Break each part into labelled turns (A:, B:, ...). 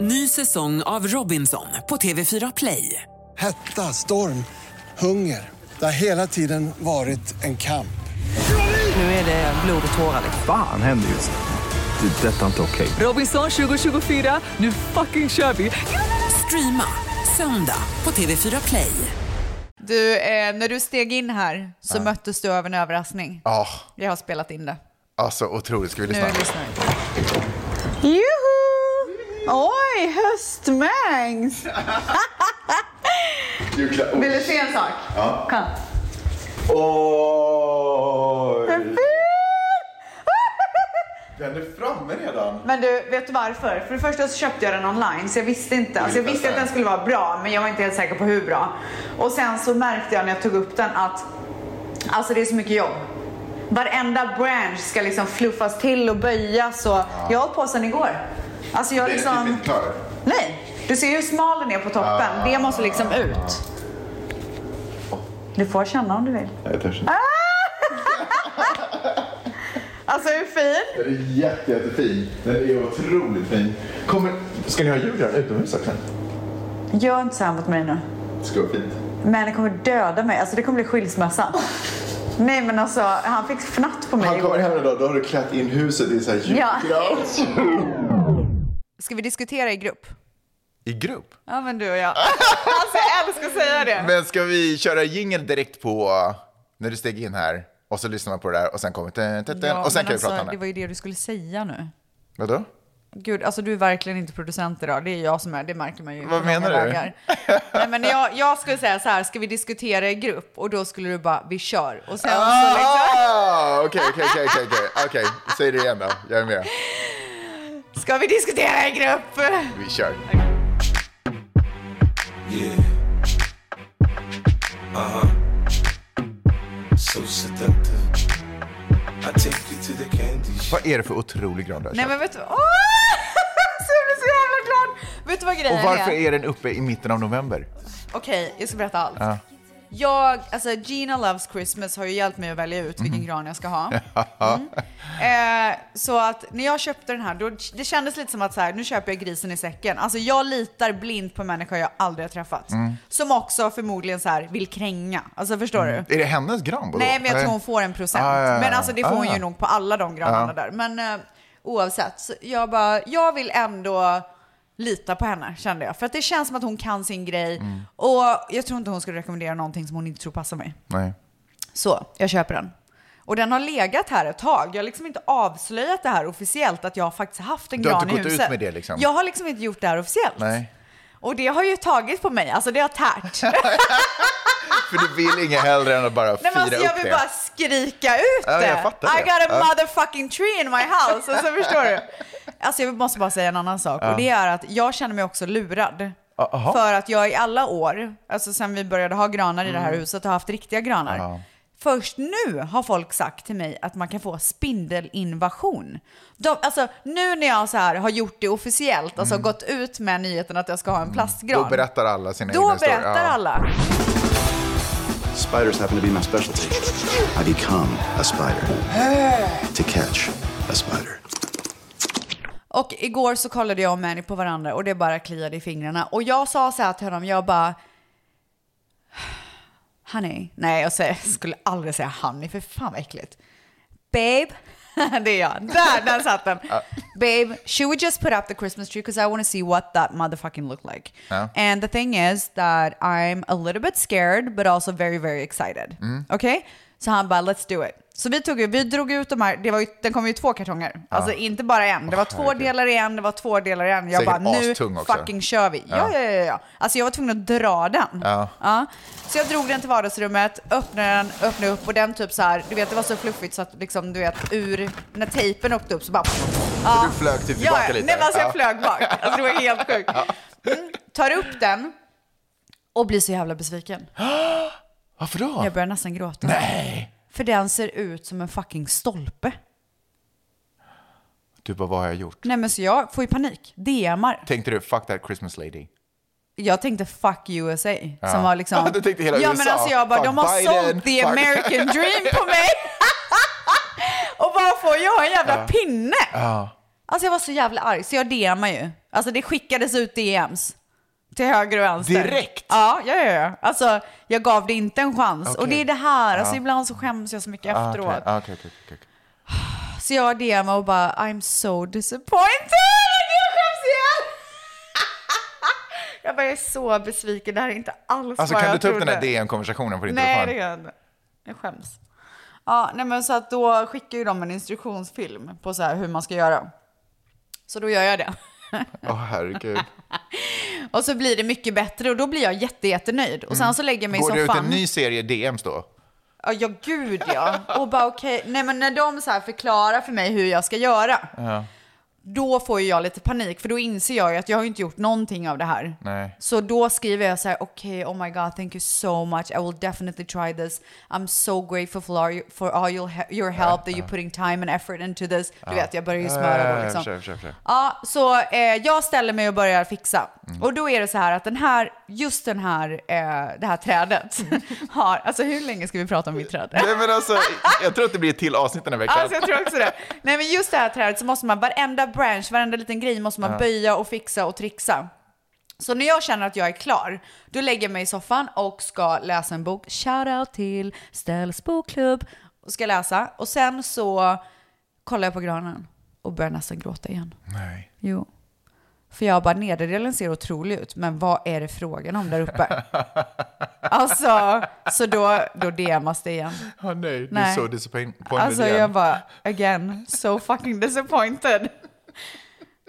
A: Ny säsong av Robinson på TV4 Play.
B: Hetta, storm, hunger. Det har hela tiden varit en kamp.
A: Nu är det blod och tårar. liksom.
C: Fan händer just nu. Det. är Detta är inte okej.
A: Robinson 2024, nu fucking kör vi! Streama söndag på TV4 Play.
D: Du, eh, när du steg in här så möttes du av en överraskning.
E: Ja,
D: Jag har spelat in det.
E: alltså otroligt. Ska vi lyssna?
D: Nu lyssnar vi.
F: Juhu! Oj, höstmängs! Vill du se en sak? Ja. Kom.
E: Oj! Den är framme redan.
F: Men du, vet du varför? För det första så köpte jag den online så jag visste inte. Alltså jag visste att den skulle vara bra men jag var inte helt säker på hur bra. Och sen så märkte jag när jag tog upp den att alltså det är så mycket jobb. Varenda branch ska liksom fluffas till och böjas och jag har hållit på sedan igår. Alltså jag
E: Den är
F: liksom...
E: typ inte klar.
F: Nej, du ser ju hur smal den är på toppen. Det måste liksom ut. Du får känna om du vill.
E: Jag törs inte.
F: Alltså hur fin?
E: Den är jätte, jättefin. Den är otroligt fin. Kommer... Ska ni ha jul här utomhus också?
F: Gör inte så här mot mig nu.
E: Det ska vara fint.
F: Männen kommer döda mig. Alltså det kommer bli skilsmässa. Nej men alltså, han fick fnatt på mig
E: Han
F: igår.
E: kommer hem idag, då har du klätt in huset i så här
F: Ja.
E: julgran.
D: Ska vi diskutera i grupp?
E: I grupp?
D: Ja, men du och jag. Alltså jag älskar att säga det.
E: Men ska vi köra jingel direkt på eh, när du steg in här? Och så lyssnar man på det där och sen kommer... tän, tän, tän, och sen
D: men
E: kan vi
D: alltså,
E: prata om
D: Det
E: det.
D: var ju det du skulle säga nu.
E: Vadå?
D: Gud, alltså du är verkligen inte producent idag. Det är jag som är, det märker man ju.
E: Vad
D: på långa
E: menar du?
D: dagar. Nej, men jag, jag skulle säga så här, ska vi diskutera i grupp? Och då skulle du bara, vi kör. Och sen så liksom,
E: Ah! Okej, okej, okej, okej, okej. Okej, säg det igen då. Jag är med.
D: ska vi diskutera i grupp?
E: Vi kör.
G: Yeah. Uh huh. So seductive. I take you to the candy shop.
E: Vad är det för otrolig gran du har
D: Nej
E: köpt?
D: men vet du, åh! Så jag blir så jävla glad! Vet du vad grejen
E: Och varför
D: är?
E: är den uppe i mitten av november?
D: Okej, jag ska berätta allt. Jag, alltså Gina Loves Christmas har ju hjälpt mig att välja ut vilken gran jag ska ha. Mm. Eh, så att när jag köpte den här, då, det kändes lite som att så här, nu köper jag grisen i säcken. Alltså jag litar blint på människor jag aldrig har träffat. Som också förmodligen så här vill kränga. Alltså förstår du?
E: Är det hennes gran?
D: Nej, men jag tror hon får en procent.
E: Ah, ja, ja.
D: Men alltså det får hon
E: Ah,
D: ju
E: ja.
D: nog på alla de granarna där. Men eh, oavsett, så jag bara, jag vill ändå lita på henne kände jag. För att det känns som att hon kan sin grej.
E: Mm.
D: Och jag tror inte hon skulle rekommendera någonting som hon inte tror passar mig.
E: Nej.
D: Så, jag köper den. Och den har legat här ett tag. Jag har liksom inte avslöjat det här officiellt att jag har faktiskt haft en
E: Du har
D: gran
E: inte
D: i
E: gått
D: huset.
E: ut med det, liksom?
D: Jag har liksom inte gjort det här officiellt.
E: Nej.
D: Och det har ju tagit på mig, alltså det har tärt.
E: För du vill inget hellre än att bara
D: Nej, men
E: fira
D: alltså, jag
E: upp
D: vill
E: det.
D: bara skrika ut
E: Ja,
D: det.
E: jag fattar det.
D: I got a
E: Ja.
D: motherfucking tree in my house. Alltså, förstår du? Alltså, jag måste bara säga en annan sak. Och det är att jag känner mig också lurad.
E: Ja, aha.
D: För att jag i alla år, alltså sen vi började ha granar i det
E: Mm.
D: här huset, har haft riktiga granar. Först nu har folk sagt till mig att man kan få spindelinvasion. De, alltså nu när jag så här har gjort det officiellt, alltså gått ut med nyheten att jag ska ha en plastgran.
E: Mm. Då berättar alla sina
D: då
E: egna historier.
D: berättar alla.
H: Spiders happen to be my specialty. I become a spider to catch a spider.
D: Och igår så kollade jag och Manny på varandra och det bara kliade i fingrarna. Och jag sa så här till honom, jag bara... Honey. Nej, jag säger, skulle aldrig säga honey, för fan vad äckligt. Babe. det är jag. Där, där satt den. Babe, should we just put up the Christmas tree because I want to see what that motherfucking looked like. And the thing is that I'm a little bit scared but also very very excited.
E: Mm.
D: Okej? Så han bara, let's do it. Så vi, tog, ju- vi drog ut de här, det var ju, den kom ju i två kartonger. Alltså inte bara en. Det var två delar i en, det var två delar i en. Jag
E: Säkert
D: bara, nu
E: astung också.
D: fucking kör vi. Ja. Ja, ja, ja, ja. Alltså jag var tvungen att dra den. Ja. Så jag drog den till vardagsrummet, öppnade den, öppnade upp och den typ så här, du vet det var så fluffigt så att liksom du vet ur, när tejpen åkte upp så bara... Ja.
E: Du flög typ tillbaka
D: ja, ja.
E: lite.
D: Nej men alltså jag
E: Ja.
D: flög bak. Alltså det var helt sjukt. Mm, tar upp den och blir så jävla besviken.
E: Varför då?
D: Jag börjar nästan gråta.
E: Nej!
D: För den ser ut som en fucking stolpe.
E: Du bara, vad har jag gjort?
D: Nej men så jag får ju panik. DMar.
E: Tänkte du, fuck that Christmas lady.
D: jag tänkte fuck USA. Som var liksom...
E: Du tänkte hela
D: ja,
E: USA.
D: men alltså jag bara,
E: Fuck
D: de har
E: Biden.
D: sålt the
E: Fuck.
D: American dream på mig. och bara får jag en jävla pinne? Alltså jag var så jävla arg, så jag DMar ju. Alltså det skickades ut DMs. Till höger och vänster.
E: Direkt?
D: Ja, ja, ja. ja. Alltså jag gav det inte en chans.
E: Okej.
D: Och det är det här, alltså ibland så skäms jag så mycket efteråt.
E: Ah, okej. Ah, okej, okej, okej, okej.
D: Så jag DMar och bara I'm so disappointed! Jag skäms igen! jag bara jag är så besviken, det här är inte alls
E: Alltså
D: vad
E: kan
D: jag
E: du ta upp
D: trodde.
E: den här DN-konversationen på din
D: Nej, det
E: telefon?
D: kan jag inte. Jag skäms. Ja, nej men så att då skickar ju de en instruktionsfilm på så här hur man ska göra. Så då gör jag det.
E: Åh herregud.
D: Och så blir det mycket bättre och då blir jag jätte, jättenöjd. Och sen så lägger jag mig i
E: Mm. Går det ut
D: soffan.
E: en ny serie DMs då?
D: Ja, ja, gud ja. Och bara okej, nej men när de så här förklarar för mig hur jag ska göra, då får ju jag lite panik för då inser jag ju att jag har ju inte gjort någonting av det här.
E: Nej.
D: Så då skriver jag så här, okej, oh my god, thank you so much, I will definitely try this, I'm so grateful for all, you- for all your, he- your help that you're putting time and effort into this. Du vet, jag börjar ju smöra då
E: Eh,
D: liksom.
E: försök, försök, försök.
D: Ja, så eh, jag ställer mig och börjar fixa. Och då är det så här att den här, just den här, eh, det här trädet har, alltså hur länge ska vi prata om mitt träd?
E: Nej men alltså, jag tror att det blir ett till avsnitt den här veckan.
D: Alltså jag tror också det. Nej men just det här trädet så måste man, varenda branch, varenda liten grej måste man böja och fixa och trixa. Så när jag känner att jag är klar, då lägger jag mig i soffan och ska läsa en bok. Shoutout till Ställs bokklubb. Och ska läsa. Och sen så kollar jag på granen och börjar nästan gråta igen.
E: Nej.
D: Jo. För jag bara, nederdelen ser otrolig ut, men vad är det frågan om där uppe? alltså, så då, då DMas det igen.
E: Åh Ah, nej, du är
D: Nej.
E: så disappointed
D: Alltså
E: igen.
D: jag bara, again, so fucking disappointed.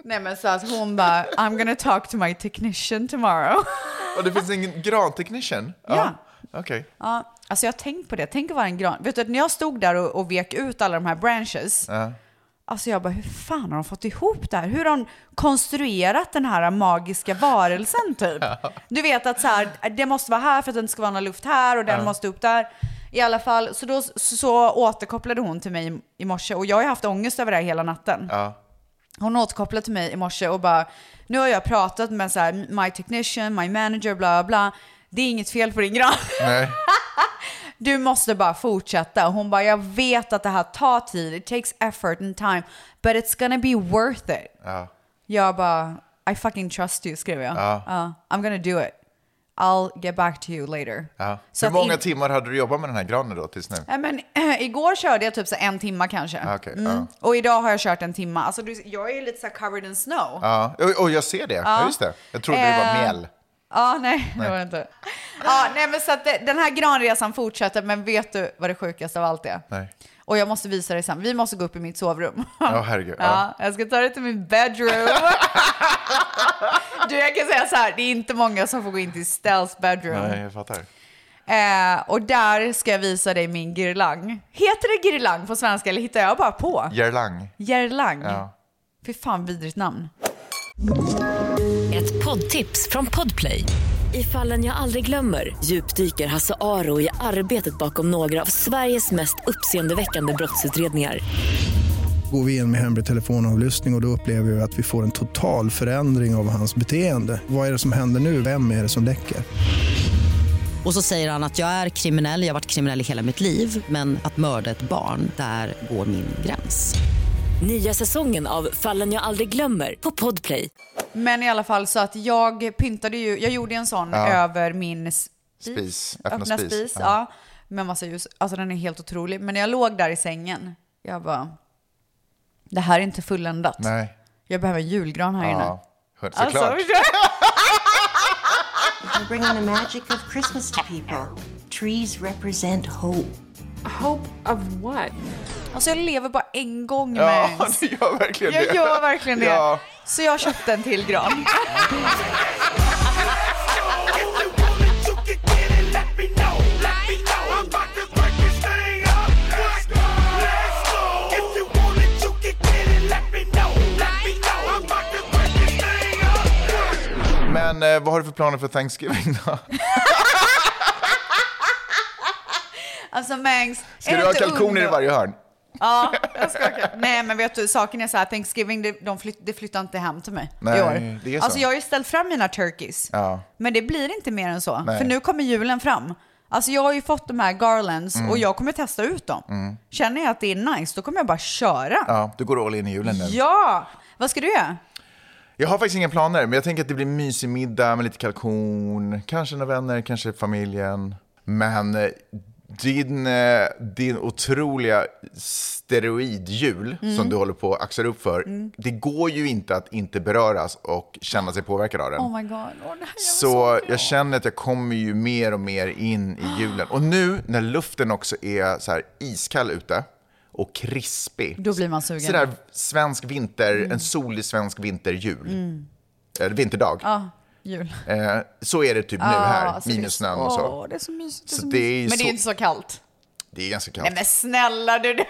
D: Nej men så att hon bara, I'm gonna talk to my technician tomorrow.
E: Och det finns ingen granteknician?
D: Ja.
E: Okej.
D: ja, alltså jag har tänkt på det, tänk att vara en gran. Vet du att när jag stod där och, och vek ut alla de här branches, alltså jag bara, hur fan har de fått ihop det här? Hur har de konstruerat den här magiska varelsen typ? Du vet att så här, det måste vara här för att det inte ska vara någon luft här och den måste upp där. I alla fall, så då så, så återkopplade hon till mig i- i morse och jag har ju haft ångest över det här hela natten. Hon återkopplade till mig i morse och bara, nu har jag pratat med så här, my technician, my manager, bla bla. Det är inget fel på din gran.
E: Nej.
D: Du måste bara fortsätta. Hon bara, jag vet att det här tar tid, it takes effort and time, but it's gonna be worth it.
E: Ja.
D: Jag bara, I fucking trust you, skrev jag. Ja, I'm gonna do it. I'll get back to you later.
E: Ja.
D: Så
E: Hur
D: att
E: många
D: in-
E: timmar hade du jobbat med den här granen då tills nu?
D: Nej, men, igår körde jag typ så en timma kanske.
E: Ah, Okej,
D: mm.
E: ja.
D: Och idag har jag kört en timma. Alltså, du, jag är lite så här covered in snow.
E: Ja, och, och jag ser det. Ja, just det. Jag trodde det var
D: Eh,
E: mjäll.
D: Ja, nej, det var det inte. Ja, nej, men så att det, den här granresan fortsätter, men vet du vad det sjukaste av allt är?
E: Nej.
D: Och jag måste visa dig sen. Vi måste gå upp i mitt sovrum.
E: Ja, herregud.
D: Ja, jag ska ta dig till min bedroom. du, jag kan säga så här, det är inte många som får gå in till Stels bedroom.
E: Nej, jag fattar.
D: Eh, och där ska jag visa dig min girlang. Heter det girlang på svenska eller hittar jag bara på?
E: Gerlang.
D: Gerlang.
E: Ja.
D: Fy fan vidrigt namn.
I: Ett poddtips från Podplay. I fallen jag aldrig glömmer djupdyker Hasse Aro i arbetet bakom några av Sveriges mest uppseendeväckande brottsutredningar.
J: Går vi in med hemlig telefonavlyssning och, och då upplever vi att vi får en total förändring av hans beteende. Vad är det som händer nu? Vem är det som läcker?
K: Och så säger han att jag är kriminell, jag har varit kriminell i hela mitt liv men att mörda ett barn, där går min gräns.
I: Nya säsongen av Fallen jag aldrig glömmer på Podplay.
D: Men i alla fall så att jag pyntade ju, jag gjorde en sån över min s-
E: Spis.
D: öppna, spis, ja. med massa ljus. Alltså den är helt otrolig. Men när jag låg där i sängen, jag bara, det här är inte fulländat.
E: Nej.
D: Jag behöver en julgran här inne.
E: Ja. Hör-
D: Alltså,
E: Såklart.
K: You're bringing the magic of Christmas to people. Trees represent hope.
L: Hope of what?
D: Alltså jag lever bara en gång med
E: ja, du gör verkligen det.
D: Jag gör verkligen det.
E: Ja.
D: Så jag köpte en till gran.
E: Men eh, vad har du för planer för Thanksgiving då?
D: Alltså Mangs,
E: Ska du ha kalkoner i varje hörn?
D: Ja, jag ska ha kalk- Nej men vet du, saken är så här, Thanksgiving det, de flytt, det flyttar inte hem till mig
E: Nej,
D: i år.
E: det är så.
D: Alltså jag har ju ställt fram mina turkeys. Men det blir inte mer än så.
E: Nej.
D: För nu kommer julen fram. Alltså jag har ju fått de här garlands
E: Mm.
D: och jag kommer testa ut dem. Känner jag att det är nice, då kommer jag bara köra.
E: Ja, du går all in i julen nu.
D: Ja! Vad ska du göra?
E: Jag har faktiskt inga planer, men jag tänker att det blir en mysig middag med lite kalkon, kanske några vänner, kanske familjen. Men eh, din, eh, din otroliga steroidhjul
M: Mm.
E: som du håller på att axla upp för,
M: Mm.
E: det går ju inte att inte beröras och känna sig påverkad av den.
D: Oh my god. Åh, det här-
E: Så jag känner att jag kommer ju mer och mer in i julen. Och nu när luften också är så här iskall ute och krispig.
D: Då blir man sugen.
E: Sådär svensk vinter,
D: Mm.
E: en solig svensk vinterjul.
D: Mm.
E: Eller vinterdag.
D: Ja, jul.
E: Eh, så är det typ nu
D: Ja,
E: här,
D: så det är
E: minus
D: så-
E: snön och
D: Alltså, Åh,
E: så.
D: det är så mysigt. Det är
E: Så
D: så
E: det är ju
D: mysigt. Men det är
E: så-
D: ju inte så kallt.
E: Det är ganska
D: Nej
E: kallt.
D: men snälla du. du-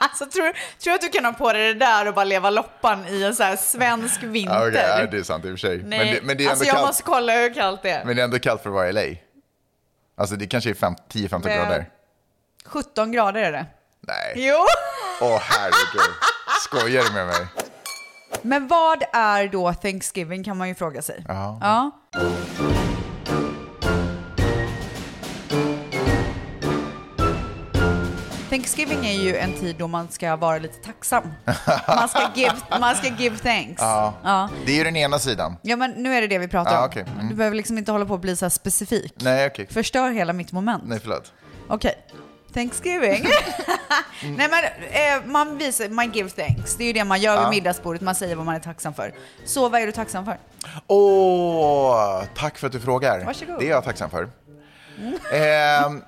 D: Alltså tror tror du att du kan ha på dig det där och bara leva loppan i en så här svensk vinter?
E: Ja, okej, ja, det är sant i och för sig.
D: Nej,
E: Men det, men det är ändå
D: alltså jag
E: kallt.
D: måste kolla hur kallt det är.
E: Men det är ändå kallt för att vara i LA. Alltså det kanske är fem- 10-15
D: Men-
E: grader.
D: 17 grader är det.
E: Nej.
D: Jo!
E: Åh herregud. Skojar du med mig?
D: Men vad är då Thanksgiving kan man ju fråga sig.
E: Ja.
D: Ja. Thanksgiving är ju en tid då man ska vara lite tacksam. Man ska give, man ska give thanks.
E: Ja.
D: Ja.
E: Det är ju den ena sidan.
D: Ja, men nu är det det vi pratar
E: Ja,
D: om.
E: okej. Mm.
D: Du behöver liksom inte hålla på att bli så här specifik.
E: Nej, okej.
D: Förstör hela mitt moment.
E: Nej, förlåt.
D: Okej. Thanksgiving. Nej men eh, man visar, man give thanks. Det är ju det man gör
E: Ja.
D: vid middagsbordet, man säger vad man är tacksam för. Så vad är du tacksam för?
E: Åh, tack för att du frågar.
D: Varsågod. Mm.
E: Det är jag tacksam för. Ehm,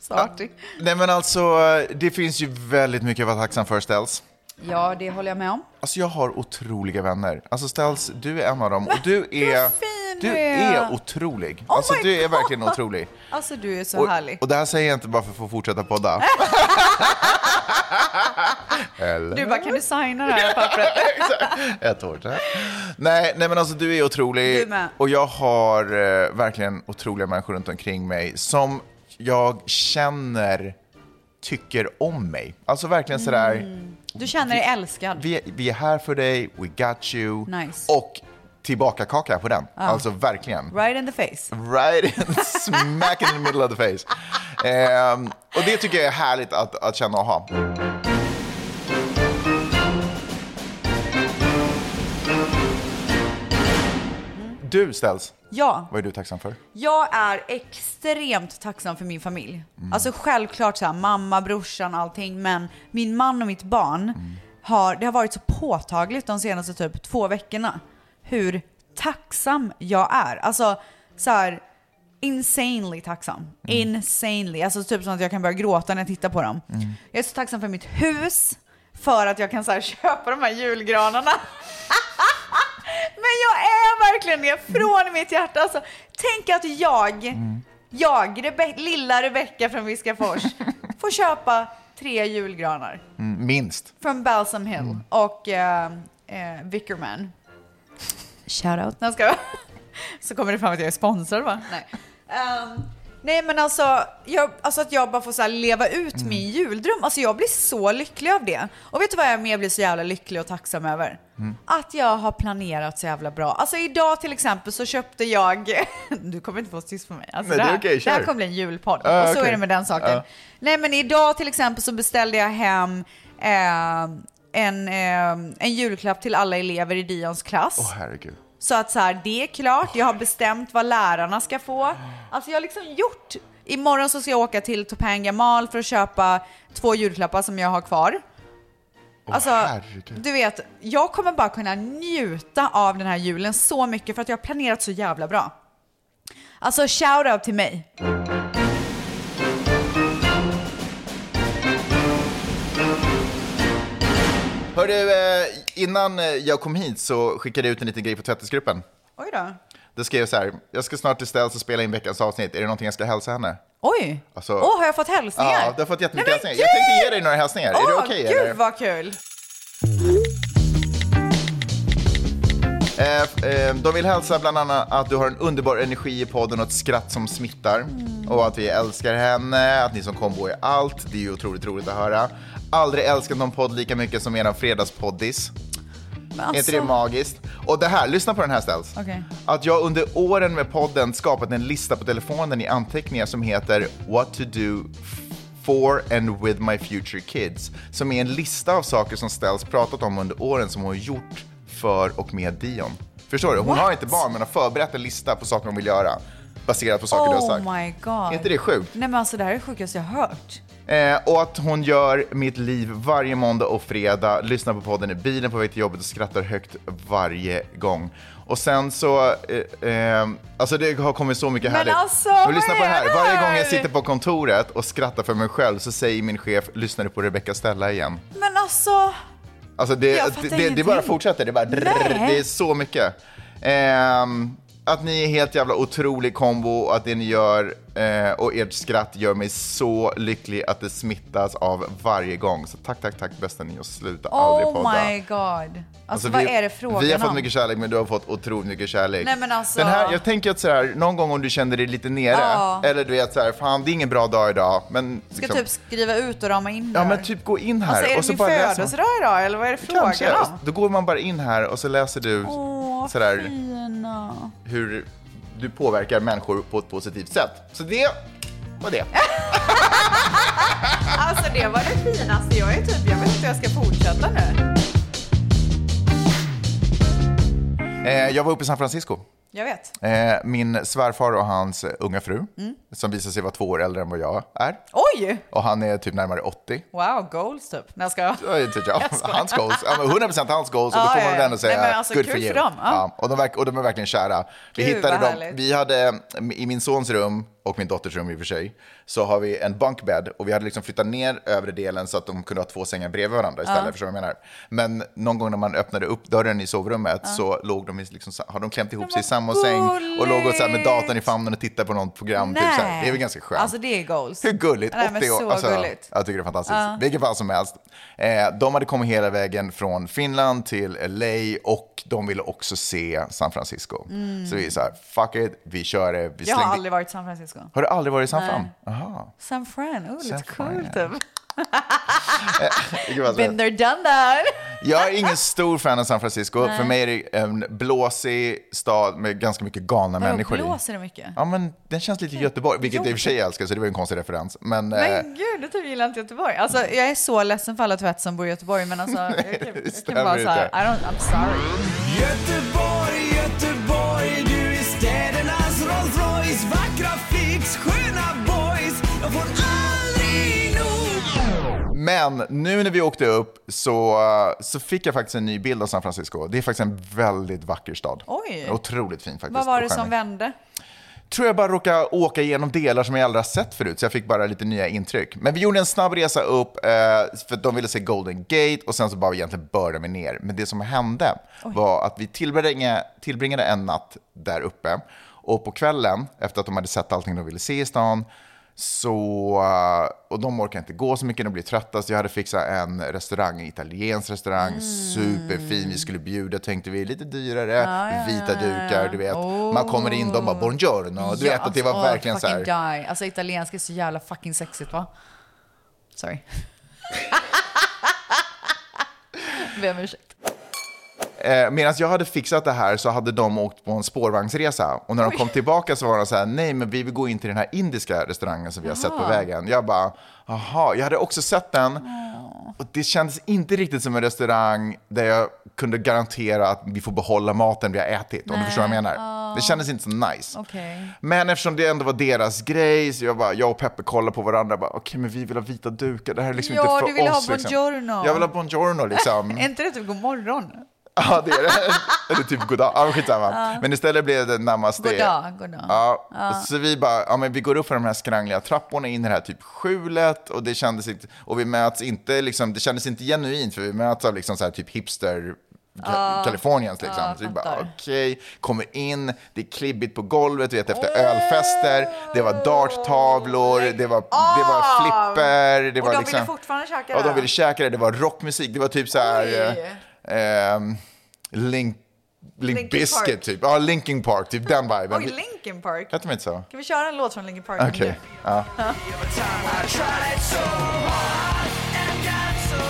D: Starting.
E: nej men alltså, det finns ju väldigt mycket att vara tacksam för Ställs.
D: Ja, det håller jag med om.
E: Alltså jag har otroliga vänner. Alltså Ställs, du är en av dem och du är...
D: du
E: du
D: är. Oh
E: är otrolig. alltså du är verkligen otrolig.
D: Alltså du är så
E: och,
D: härlig.
E: och det här säger jag inte bara för att få fortsätta podda. Eller?
D: Du bara, kan du signa det här pappret?
E: Ett år sedan. Nej, nej men alltså du är otrolig.
D: Du med.
E: och jag har eh, verkligen otroliga människor runt omkring mig som jag känner tycker om mig. Alltså verkligen sådär,
D: Du känner dig älskad.
E: vi, vi är här för dig, we got you.
D: Nice.
E: Och tillbaka kaka på den.
D: Ja.
E: Alltså verkligen.
D: Right in the face.
E: Right in, smack in the middle of the face. Ehm, och det tycker jag är härligt att, att känna och ha. Du Ställs,
D: Ja,
E: vad är du tacksam för?
D: jag är extremt tacksam för min familj. Alltså självklart så här, mamma, brorsan, allting. Men min man och mitt barn, har, det har varit så påtagligt de senaste typ två veckorna hur tacksam jag är. Alltså så här insanely tacksam. Insanely. Alltså typ som att jag kan börja gråta när jag tittar på dem. Jag är så tacksam för mitt hus, för att jag kan så här, köpa de här julgranarna. Men jag är verkligen det från mitt hjärta. Alltså, tänk att jag, jag, Rebe- lilla Rebecka från Viskafors, får köpa tre julgranar
E: Mm, minst.
D: från Balsam Hill och eh, eh, Vickerman. Shoutout. Nej, ska jag. Så kommer det fram att jag är sponsrad va? Nej. Ehm, nej men alltså, jag, alltså att jag bara får så här leva ut min juldröm. Alltså jag blir så lycklig av det. Och vet du vad jag mer blir så jävla lycklig och tacksam över? Att jag har planerat så jävla bra. Alltså idag till exempel så köpte jag... Du kommer inte få tyst på mig. Alltså, det,
E: Nej, det är
D: här,
E: okej,
D: det här
E: kör.
D: kommer bli en julpodd.
E: Ja,
D: och så är
E: okej.
D: det med den saken.
E: Ja.
D: Nej men idag till exempel så beställde jag hem eh, en, eh, en julklapp till alla elever i Dions klass.
E: Åh herregud.
D: Så att så här, det är klart, jag har bestämt vad lärarna ska få. Alltså jag har liksom gjort... Imorgon så ska jag åka till Topanga Mall för att köpa två julklappar som jag har kvar. Alltså, du vet, jag kommer bara kunna njuta av den här julen så mycket för att jag har planerat så jävla bra. Alltså shout out till mig.
E: Hörru, eh, innan eh, jag kom hit så skickade jag ut en liten grej på tvättisgruppen.
D: Oj då.
E: Det skrev så här, jag ska snart till Ställs och spela in veckans avsnitt, är det någonting jag ska hälsa henne?
D: Oj!
E: Alltså,
D: Åh, har jag fått hälsningar?
E: Ja, du har fått jättemycket
D: Nej, men
E: hälsningar. Jag tänkte ge dig några hälsningar. är det
D: Åh,
E: okej?
D: gud
E: eller?
D: vad kul!
E: Eh, f- eh, de vill hälsa bland annat att du har en underbar energi i podden och ett skratt som smittar. Och att vi älskar henne, att ni som kombo är allt. Det är ju otroligt roligt att höra. Aldrig älskat någon podd lika mycket som eran fredagspoddis. Är inte det magiskt? Och det här, lyssna på den här ställs.
D: Okej.
E: Att jag under åren med podden skapat en lista på telefonen i anteckningar som heter What to do for and with my future kids. Som är en lista av saker som Ställs pratat om under åren som hon gjort för och med Dion. Förstår du? Hon har
D: What?
E: inte barn men har förberett en lista på saker hon vill göra baserat på saker du har sagt.
D: Oh my god.
E: Är inte det sjukt?
D: Nej men alltså det här är det sjukaste jag har hört.
E: Eh, och att hon gör mitt liv varje måndag och fredag, lyssnar på podden i bilen på väg till jobbet och skrattar högt varje gång. Och sen så, eh, eh, alltså det har kommit så mycket
D: Men
E: härligt.
D: alltså,
E: och lyssna
D: vad
E: på det
D: är
E: här.
D: det
E: Varje
D: här?
E: gång jag sitter på kontoret och skrattar för mig själv så säger min chef, lyssnar du på Rebecca Stella igen?
D: Men alltså.
E: Alltså det,
D: Jag fattar
E: det, det, det bara
D: ingenting.
E: fortsätter, det, bara, drrrr,
D: Nej.
E: det är så mycket. Ehm, att ni är helt jävla otrolig kombo och att det ni gör eh, och ert skratt gör mig så lycklig att det smittas av varje gång. Så tack, tack, tack bästa ni och sluta aldrig
D: Oh
E: podda.
D: my god. Alltså,
E: Alltså,
D: vad
E: vi-
D: är det frågan
E: Vi har fått
D: om?
E: mycket kärlek men du har fått otroligt mycket kärlek.
D: Nej, men alltså-
E: Den här, jag tänker att så här, någon gång om du känner dig lite nere,
D: Ja.
E: eller du vet så här, fan det är ingen bra dag idag, men
D: Ska
E: liksom-
D: typ skriva ut och rama in
E: Ja
D: där.
E: men typ gå in här
D: Alltså är det
E: och så
D: min
E: bara läs om-
D: födelsedag idag eller vad är det frågan
E: Kanske. Alltså,
D: om?
E: Då går man bara in här och så läser du
D: Åh,
E: sådär,
D: fina.
E: hur du påverkar människor på ett positivt sätt. Så det var det.
D: Alltså det var det finaste. Jag är typ, jag vet inte hur jag ska fortsätta nu.
E: Eh, jag var uppe i San Francisco.
D: Jag vet.
E: Eh, min svärfar och hans unga fru, som visar sig vara två år äldre än vad jag är.
D: Oj!
E: Och han är typ närmare 80.
D: Wow, goals typ. När ska jag?
E: Ja, det tycker jag.
D: Jag skojar.
E: Hans goals. Ja, men 100% hans goals. Och
D: Ja,
E: då får
D: ja,
E: man väl
D: ja.
E: ändå säga
D: Nej, men alltså,
E: good
D: kul
E: for you.
D: för dem, ja.
E: och, de verk, och de är verkligen kära. Vi,
D: Gud,
E: hittade
D: vad
E: dem.
D: härligt.
E: vi hade eh, i min sons rum och min dotters rum i och för sig, så har vi en bunkbed och vi hade liksom flyttat ner övre delen så att de kunde ha två sängar bredvid varandra istället.
D: Ja.
E: Förstår du vad jag menar? Men någon gång när man öppnade upp dörren i sovrummet så låg de i liksom, sa- har de klämt ihop sig i samma säng och låg och så här med datorn i famnen och tittade på något program. Typ, så här. Det är väl ganska skönt.
D: Alltså det är goals.
E: Hur gulligt?
D: Nej, men
E: 80 år.
D: så
E: alltså,
D: gulligt.
E: Jag tycker det är fantastiskt.
D: Ja.
E: Vilket fall som helst. Eh, de hade kommit hela vägen från Finland till LA och de ville också se San Francisco.
D: Mm.
E: Så vi sa, fuck it, vi kör det. Vi
D: Jag har
E: slängde-
D: aldrig varit i San Francisco.
E: Har du aldrig varit i San
D: Nej.
E: Fran? Jaha.
D: San Fran, oh
E: San
D: lite
E: Fran,
D: coolt
E: ja.
D: typ.
E: Vilket fall som
D: Been
E: helst.
D: there, done that.
E: Jag är ingen stor fan av San Francisco.
D: Nej.
E: För mig är det en blåsig stad med ganska mycket galna människor i.
D: blåser det mycket?
E: Ja, men den känns lite Göteborg, vilket jag i och för sig älskar, så det var ju en konstig referens. Men, eh,
D: Men gud, du typ gillar inte Göteborg. Alltså jag är så ledsen för alla tvätt som bor i Göteborg men alltså jag kan, jag kan
E: stämmer
D: bara såhär, I
E: inte.
D: don't, I'm sorry.
M: Göteborg, Göteborg, du är städernas Rolls Royce Vackra flicks, sköna boys, jag får aldrig nog
E: Men nu när vi åkte upp så, så fick jag faktiskt en ny bild av San Francisco. Det är faktiskt en väldigt vacker stad.
D: Oj.
E: Otroligt fin faktiskt.
D: Vad var det
E: och
D: som
E: charmig.
D: vände?
E: Tror jag bara råkade åka igenom delar som jag aldrig har sett förut, så jag fick bara lite nya intryck. Men vi gjorde en snabb resa upp, eh, för de ville se Golden Gate och sen så bara egentligen började vi ner. Men det som hände var att vi tillbringade, tillbringade en natt där uppe och på kvällen, efter att de hade sett allting de ville se i stan, så, eh, och de orkar inte gå så mycket, de blir trötta. Så jag hade fixat en restaurang, en italiensk restaurang, superfin. Vi skulle bjuda tänkte vi, lite dyrare, vita dukar, du vet. Man kommer in, de bara buongiorno. Du vet att det var
D: alltså,
E: verkligen så
D: fucking
E: här.
D: Die. Alltså italienska är så jävla fucking sexigt va? Sorry. Be om ursäkt.
E: Eh, Medan jag hade fixat det här så hade de åkt på en spårvagnsresa. Och när de kom tillbaka så var de så här, nej men vi vill gå in till den här indiska restaurangen som vi har sett på
N: Jaha.
E: vägen. Jag bara, jaha, jag hade också sett den. Och det kändes inte riktigt som en restaurang där jag kunde garantera att vi får behålla maten vi har ätit. Om du
N: Nej.
E: förstår vad jag menar.
N: Ah.
E: Det kändes inte så nice.
D: Okej.
E: Men eftersom det ändå var deras grej, så jag, bara, jag och Peppe kollade på varandra och bara, okej men vi vill ha vita dukar, det här är liksom
D: Ja,
E: inte för
D: du vill ha
E: oss. Liksom.
D: buongiorno.
E: Jag vill ha buongiorno liksom.
D: är inte det typ god morgon?
E: Ja, det är det. Eller typ goddag. Ja, men skitsamma.
D: Ja.
E: Men istället blev det namaste.
D: Goddag, goddag.
E: Ja.
D: Ja.
E: Så vi bara, ja men vi går upp för de här skrangliga trapporna in i det här typ skjulet och det kändes inte, och vi möts inte liksom, det kändes inte genuint för vi möts av liksom så här typ hipster
N: Ja.
E: Kaliforniens liksom.
N: Ja,
E: så vi bara
N: fattar.
E: okej, kommer in, det är klibbigt på golvet, du vet efter ölfester, det var darttavlor, det var, det var flipper, det
D: Ah! Och
E: var
D: de
E: liksom...
D: ville fortfarande käka
E: Ja,
D: det?
E: de ville käka det, det var rockmusik, det var typ så här... Eh, ehm, Link, Link
D: Linkin
E: Biscuit
D: Park.
E: typ. Ja, Linkin Park, typ den viben.
D: Oj, Linkin Park.
E: Hette de inte så?
D: Kan vi köra en låt från Linkin Park?
E: Okej.
D: nu?
E: Ja.
M: I tried so hard and got so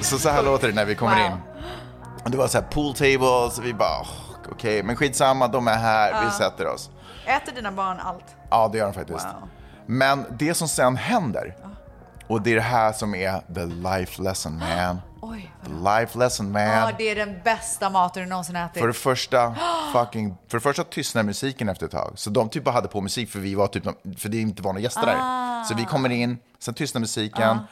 E: Så, så här låter det när vi kommer in. Och det var så här pool tables, vi bara oh, okej, men skitsamma, de är här, vi
D: Ja.
E: sätter oss.
D: Äter dina barn allt?
E: Ja, det gör de faktiskt. Men det som sen händer, och det är det här som är the life lesson man.
D: Oj.
E: Life lesson man.
D: Ja, det är den bästa maten du någonsin ätit.
E: För det första, fucking, för det första tystnade musiken efter ett tag. Så de typ bara hade på musik för vi var typ, de- för det inte var några gäster där.
D: Ah.
E: Så vi kommer in, sen tystnar musiken,
D: Ah.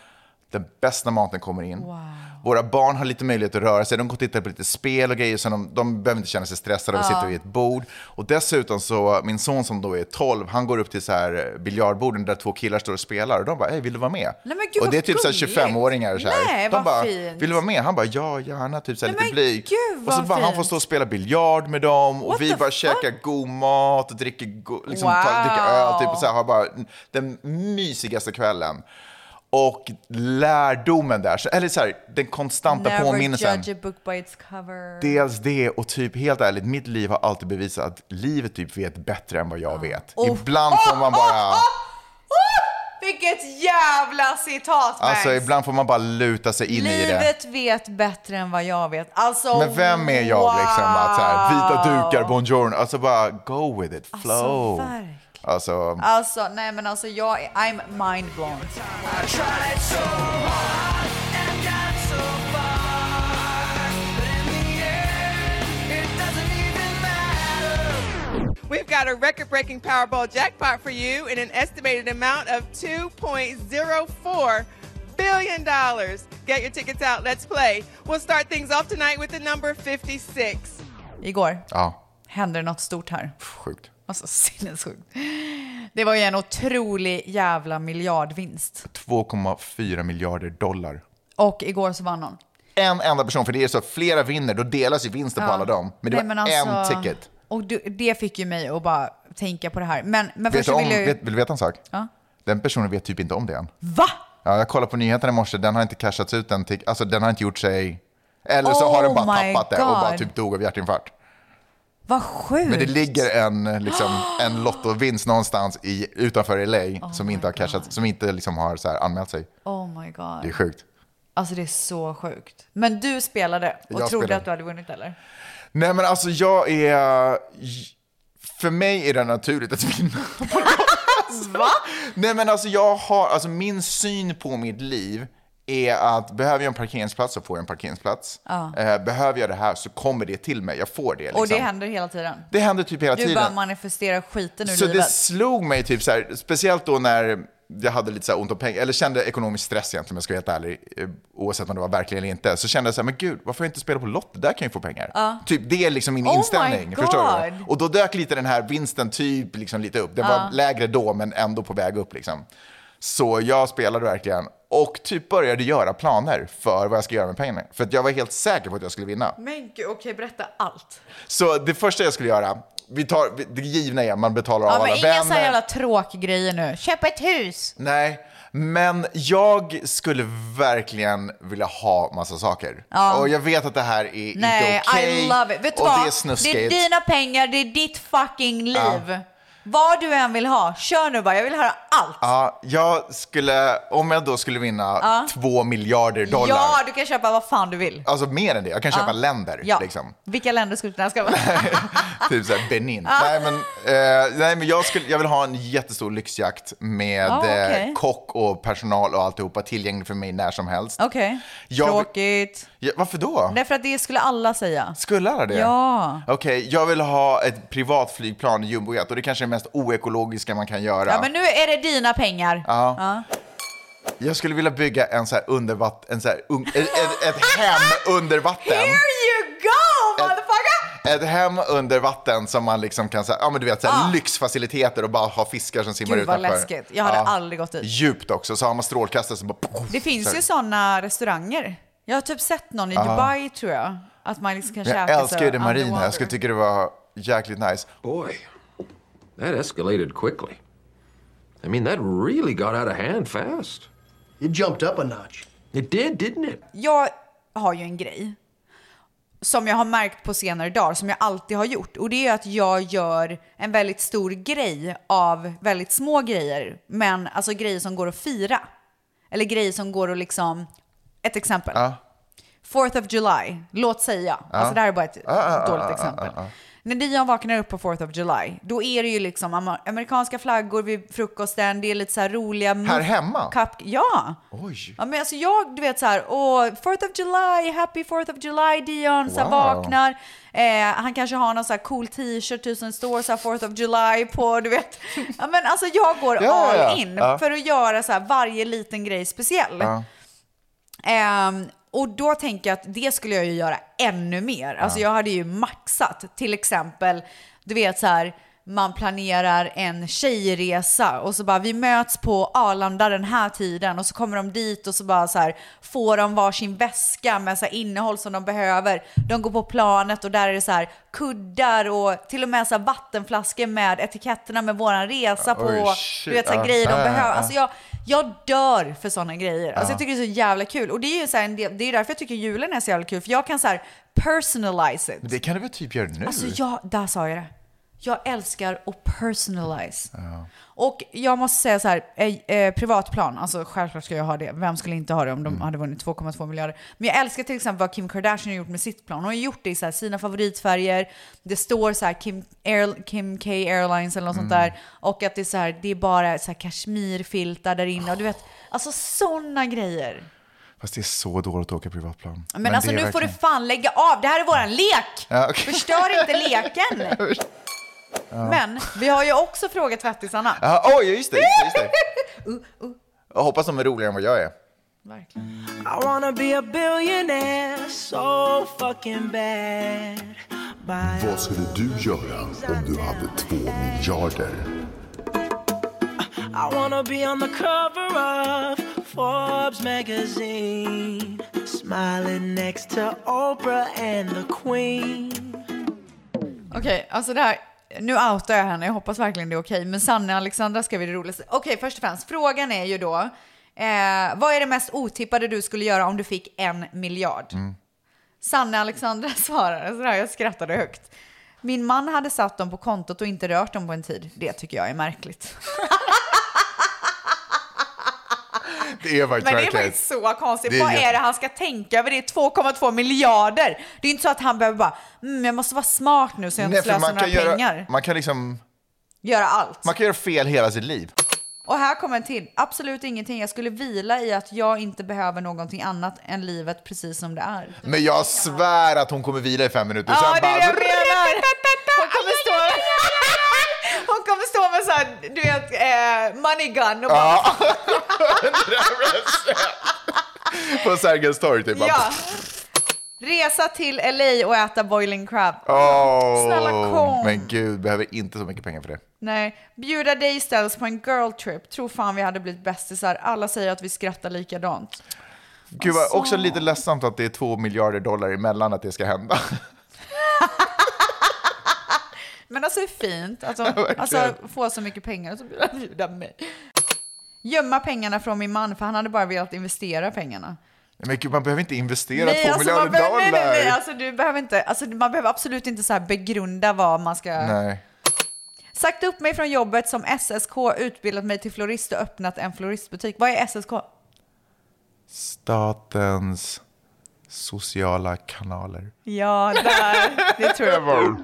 E: den bästa maten kommer in.
D: Wow.
E: Våra barn har lite möjlighet att röra sig, de går och tittar på lite spel och grejer så de, de behöver inte känna sig stressade av att
D: Ja.
E: sitta vid ett bord. Och dessutom så, min son som då är 12, han går upp till så här biljardborden där två killar står och spelar och de bara, hej vill du vara med?
D: Nej, men gud,
E: och det är
D: vad
E: typ så här
D: gulligt.
E: 25-åringar så här.
D: Nej,
E: de
D: vad
E: bara,
D: fint.
E: vill du vara med? Han bara, ja gärna, typ så här lite blyg.
D: gud,
E: och så
D: vad
E: bara, han
D: fint.
E: får stå och spela biljard med dem och
D: What
E: vi
D: the
E: bara käkar god mat och dricker, go- liksom, tar, dricker öl typ, och så här, har bara den mysigaste kvällen. Och lärdomen där, så, eller så här, den konstanta
D: Never
E: påminnelsen.
D: judge a book by its cover.
E: Dels det och typ helt ärligt, mitt liv har alltid bevisat att livet typ vet bättre än vad jag vet.
D: Oh.
E: Ibland får man bara...
D: Vilket jävla citat, Max!
E: Alltså ibland får man bara luta sig in i det.
D: Livet vet bättre än vad jag vet. Alltså,
E: Men vem är jag liksom att så här, vita dukar, buongiorno, alltså bara go with it, flow.
D: verkligen.
E: Alltså,
D: Alltså, nej men alltså jag är, I'm mind blown.
M: I tried so hard and got so far, but in the end, it doesn't even matter.
N: We've got a record breaking Powerball jackpot for you in an estimated amount of $2.04 billion. Get your tickets out. Let's play. We'll start things off tonight with the number 56.
D: Igår
E: ja,
D: hände det något stort här.
E: sjukt.
D: Alltså sinnessjukt. Det var ju en otrolig jävla miljardvinst.
E: 2,4 miljarder dollar.
D: Och igår så vann någon.
E: En enda person, för det är så att flera vinner, då delas ju vinsten på
D: Ja.
E: alla dem. Men det
D: Nej,
E: var
D: alltså-
E: en ticket.
D: Och du, det fick ju mig att bara tänka på det här. Men, men
E: Vet
D: först
E: du
D: så
E: om,
D: vill jag ju...
E: vet, vill du veta en sak?
D: Ja.
E: Den personen vet typ inte om det än.
D: Va?
E: Ja, jag kollade på nyheterna i morse, den har inte cashats ut än, till, alltså den har inte gjort sig... Eller så har
D: Oh
E: den bara
D: my
E: tappat det och bara
D: God.
E: typ dog av hjärtinfarkt.
D: Vad sjukt!
E: Men det ligger en, liksom, en lottovinst någonstans i, utanför LA som inte har cashat, som inte liksom har så här anmält sig.
D: Oh my god.
E: Det är sjukt.
D: Alltså det är så sjukt. Men du spelade och trodde
E: Jag spelade.
D: att du hade vunnit eller?
E: Nej men alltså jag är... För mig är det naturligt att vinna.
D: Va?
E: Nej men alltså jag har, alltså min syn på mitt liv är att behöver jag en parkeringsplats så får jag en parkeringsplats.
D: Ja.
E: Eh, behöver jag det här så kommer det till mig, jag får det. Liksom.
D: Och det händer hela tiden?
E: Det händer typ hela
D: du
E: tiden.
D: bara manifesterar skiten ur
E: Så det
D: livet?
E: slog mig typ så här, speciellt då när jag hade lite så här ont om pengar, eller kände ekonomisk stress egentligen om jag ska vara helt ärlig, eh, oavsett om det var verkligen eller inte, så kände jag så här, men gud, varför får jag inte spela på Lotto? Där kan jag få pengar.
D: Ja.
E: Typ det är liksom min
D: Oh my
E: inställning, förstår du?
D: God.
E: Och då dök lite den här vinsten typ liksom lite upp, den
D: Ja.
E: var lägre då men ändå på väg upp liksom. Så jag spelade verkligen och typ började göra planer för vad jag ska göra med pengarna. För att jag var helt säker på att jag skulle vinna.
D: Men gud, okej berätta allt.
E: Så det första jag skulle göra, vi tar, vi- det givna är man betalar
D: Ja,
E: av alla
D: men inga så här
E: vänner.
D: jävla tråkgrejer nu. Köpa ett hus!
E: Nej, men jag skulle verkligen vilja ha massa saker.
D: Ja.
E: Och jag vet att det här är
D: Nej,
E: inte okej.
D: I love it. Vet du
E: och
D: vad?
E: det är snuskigt.
D: Det är dina pengar, det är ditt fucking
E: Ja.
D: liv. Vad du än vill ha, kör nu bara. Jag vill höra allt.
E: Ja, jag skulle, om jag då skulle vinna
D: Ja.
E: två miljarder dollar.
D: Ja, du kan köpa vad fan du vill.
E: Alltså mer än det, jag kan köpa
D: Ja.
E: länder.
D: Ja.
E: Liksom.
D: Vilka länder skulle du kunna
E: Typ såhär Benin.
D: Ja.
E: Nej, men, eh, nej, men jag, skulle, jag vill ha en jättestor lyxjakt med
D: Ja,
E: eh,
D: okej.
E: kock och personal och alltihopa tillgänglig för mig när som helst.
D: Okej.
E: Jag-
D: Tråkigt.
E: Ja, varför då?
D: Därför att det skulle alla säga.
E: Skulle alla det?
D: Ja.
E: Okej, jag vill ha ett privat flygplan i jumbojet och det kanske är det mest oekologiska man kan göra.
D: Ja, men nu är det dina pengar.
E: Ja.
D: Ja.
E: Jag skulle vilja bygga en så här undervatt... En så här un... ett, ett, ett hem under vatten.
D: Here you go, motherfucker!
E: Ett hem under vatten som man liksom kan säga, ja men du vet så här,
D: Ja.
E: lyxfaciliteter och bara ha fiskar som simmar
D: Ah. Gud vad
E: utanför.
D: läskigt. Jag hade
E: Ja.
D: aldrig gått dit.
E: Djupt också, så har man strålkastare som bara...
D: Det finns
E: så här.
D: ju sådana restauranger. Jag har typ sett någon i
E: Ja.
D: Dubai tror jag. Att man liksom kan
E: Men Jag
D: käka
E: älskar ju
D: så
E: det marina, jag
D: underwater.
E: skulle tycka det var jäkligt nice.
O: Boy, that escalated quickly. I mean, that really got out of hand fast. It jumped up a notch. It did, didn't it?
D: Jag har ju en grej som jag har märkt på senare dagar, som jag alltid har gjort. Och det är att jag gör en väldigt stor grej av väldigt små grejer, men alltså grejer som går att fira. Eller grejer som går att liksom... Ett exempel.
E: Ja.
D: Fourth of July, låt säga.
E: Ja.
D: Alltså det här är bara ett
E: Ja, ja, ja,
D: dåligt
E: ja,
D: exempel.
E: ja, ja.
D: När Dion vaknar upp på 4th of July, då är det ju liksom amer- amerikanska flaggor vid frukosten, det är lite så här roliga...
E: Här hemma?
D: Cup- ja!
E: Oj.
D: Ja men alltså jag, du vet så här, åh, 4th of July, happy 4th of July Dion, så här,
E: Wow.
D: vaknar. Eh, han kanske har någon så här cool t-shirt, tusen står så här 4th of July på, du vet. Ja men alltså jag går
M: Ja, ja,
D: all
M: ja.
D: in
M: Ja.
D: för att göra så här varje liten grej speciell.
M: Ja.
D: Ehm, och då tänker jag att det skulle jag ju göra ännu mer. Alltså
M: Ja.
D: jag hade ju maxat. Till exempel, du vet så här, man planerar en tjejresa och så bara vi möts på Arlanda den här tiden och så kommer de dit och så bara så här får de varsin väska med så här innehåll som de behöver. De går på planet och där är det så här kuddar och till och med så här vattenflaskor med etiketterna med våran resa på.
M: Oj,
D: du
M: shit.
D: vet så här
M: Ja.
D: grejer de
M: Ja, ja, ja.
D: behöver. Alltså jag, jag dör för sådana grejer. Alltså
M: Ja.
D: jag tycker det är så jävla kul. Och det är ju så här en del, det är därför jag tycker julen är så jävla kul. För jag kan så här personalize it.
E: Men det kan du väl typ göra nu?
D: Alltså jag, där sa jag det. Jag älskar att personalize. Och jag måste säga så här, eh, eh, privatplan, alltså självklart ska jag ha det. Vem skulle inte ha det om de hade vunnit 2,2 miljarder? Men jag älskar till exempel vad Kim Kardashian har gjort med sitt plan. Hon har gjort det i så här, sina favoritfärger. Det står så här Kim, Air, Kim K Airlines eller något sånt där. Och att det är så här, det är bara så här kashmirfiltar där inne. Och du vet, alltså sådana grejer.
E: Fast det är så dåligt att åka privatplan.
D: Men, alltså
E: det
D: nu
E: är
D: får du
E: verkligen-
D: fan lägga av, det här är våran lek!
E: Ja, okej.
D: Förstör inte leken!
E: Ja.
D: Men vi har ju också frågat tvättisarna.
E: Ja, Oj, just det, just det, just det.
D: Uh,
E: Jag hoppas de är roligare än vad jag är.
M: I wanna be a billionaire so fucking bad.
P: Vad skulle du göra om du hade två miljarder?
M: I wanna be on the cover of Forbes magazine, smiling next to Oprah and the Queen.
D: Okej, alltså det här, nu outar jag henne, jag hoppas verkligen det är okej. Men Sanne och Alexandra ska vi det roligaste. Okej, först och främst, frågan är ju då, eh, vad är det mest otippade du skulle göra om du fick en miljard?
M: Mm.
D: Sanne Alexandra svarade sådär, jag skrattade högt. Min man hade satt dem på kontot och inte rört dem på en tid. Det tycker jag är märkligt.
E: Det är faktiskt
D: Men det är
E: verkligen-
D: faktiskt så konstigt.
E: Det är
D: Vad
E: jätte-
D: är det han ska tänka över? Det är 2,2 miljarder. Det är inte så att han behöver bara, mm, jag måste vara smart nu så jag inte
E: Nej, för
D: slösar
E: man
D: några
E: kan, göra,
D: pengar.
E: man, kan liksom,
D: Göra allt.
E: man kan göra fel hela sitt liv.
D: Och här kommer en till. Absolut ingenting. Jag skulle vila i att jag inte behöver någonting annat än livet precis som det är.
E: Men jag svär att hon kommer vila i fem minuter, sen
D: det är det jag
E: bara...
D: menar! Hon kommer stå, hon kommer stå med så här, du vet, eh, money gun och bara...
E: Ja. På Sergels torg typ. bara-
D: Ja. Resa till LA och äta boiling crab.
E: Åh,
D: Snälla kom.
E: Men gud, behöver inte så mycket pengar för det.
D: Nej, bjuda dig istället på en girl trip. Tror fan vi hade blivit bästisar. Alla säger att vi skrattar likadant.
E: Gud, vad
D: Alltså.
E: också lite ledsamt att det är två miljarder dollar emellan att det ska hända.
D: Men alltså det är fint att
E: Ja,
D: de,
E: verkligen.
D: alltså, få så mycket pengar och så vill de bjuda mig. Gömma pengarna från min man för han hade bara velat investera pengarna.
E: Men gud, man behöver inte investera två
D: alltså, man
E: miljarder
D: behöver, nej,
E: dollar.
D: nej, nej, alltså, du behöver inte, alltså, man behöver absolut inte så här begrunda vad man ska...
E: nej.
D: Sagt upp mig från jobbet som SSK, utbildat mig till florist och öppnat en floristbutik. Vad är SSK?
E: Statens sociala kanaler.
D: Ja, där. Det tror jag.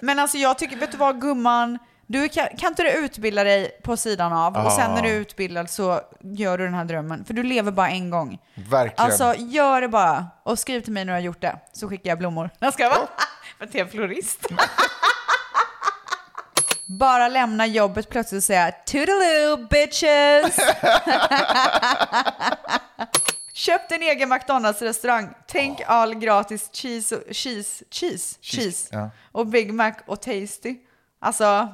D: Men alltså jag tycker, vet du vad gumman? Du kan, kan inte du utbilda dig på sidan av och sen när du är utbildad så gör du den här drömmen. För du lever bara en gång.
E: Verkligen.
D: Alltså gör det bara och skriv till mig när du har gjort det så skickar jag blommor. Jag ska vara. Men till en florist. Bara lämna jobbet plötsligt och säga toodaloo bitches. Köpt en egen McDonalds-restaurang. Tänk all gratis cheese, och, cheese, cheese, cheese
E: Ja.
D: och Big Mac och Tasty. Alltså,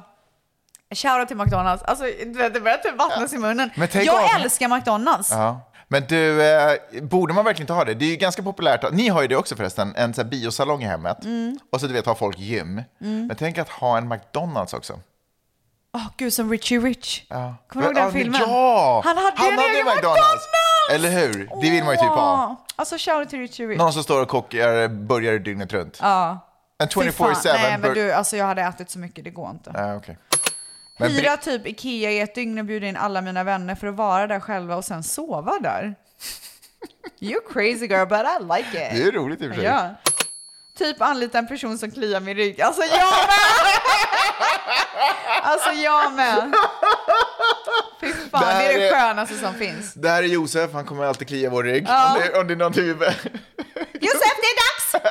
D: shoutout till McDonalds. Alltså, du vet, det börjar typ vattnas i munnen.
E: Men tänk
D: jag
E: om-
D: älskar McDonalds.
E: Ja. Men du, eh, borde man verkligen inte ha det? Det är ju ganska populärt. att- Ni har ju det också förresten, en så här biosalong i hemmet.
D: Mm.
E: Och så du vet, har folk gym.
D: Mm.
E: Men tänk att ha en McDonalds också.
D: Åh, gud, som Richie Rich. Kommer du ihåg
E: Men-
D: den
E: ja, men
D: filmen?
E: Ja!
D: Han hade en egen
E: Eller hur? Det vill man ju typ ha.
D: Åh, Alltså shoutout till Richie Rich.
E: Någon som står och kokar burgare dygnet runt.
D: Ja.
E: En
D: Fy fan,
E: 24-7
D: Nej men
E: bur-
D: du, alltså jag hade ätit så mycket, det går inte.
E: Ja, okej. Men
D: Hyra typ Ikea i ett dygn och bjuda in alla mina vänner för att vara där själva och sen sova där. You crazy girl but I like it.
E: Det är roligt i och för sig.
D: Ja. Typ anlita en person som kliar min rygg. Alltså jag med! Alltså jag med. Fy fan,
E: Det
D: det,
E: här
D: är det
E: är-
D: skönaste som finns.
E: Det här är Josef, han kommer alltid klia vår rygg.
D: Ja.
E: Om, det, om det är någonting vi behöver.
D: Josef, det är dags!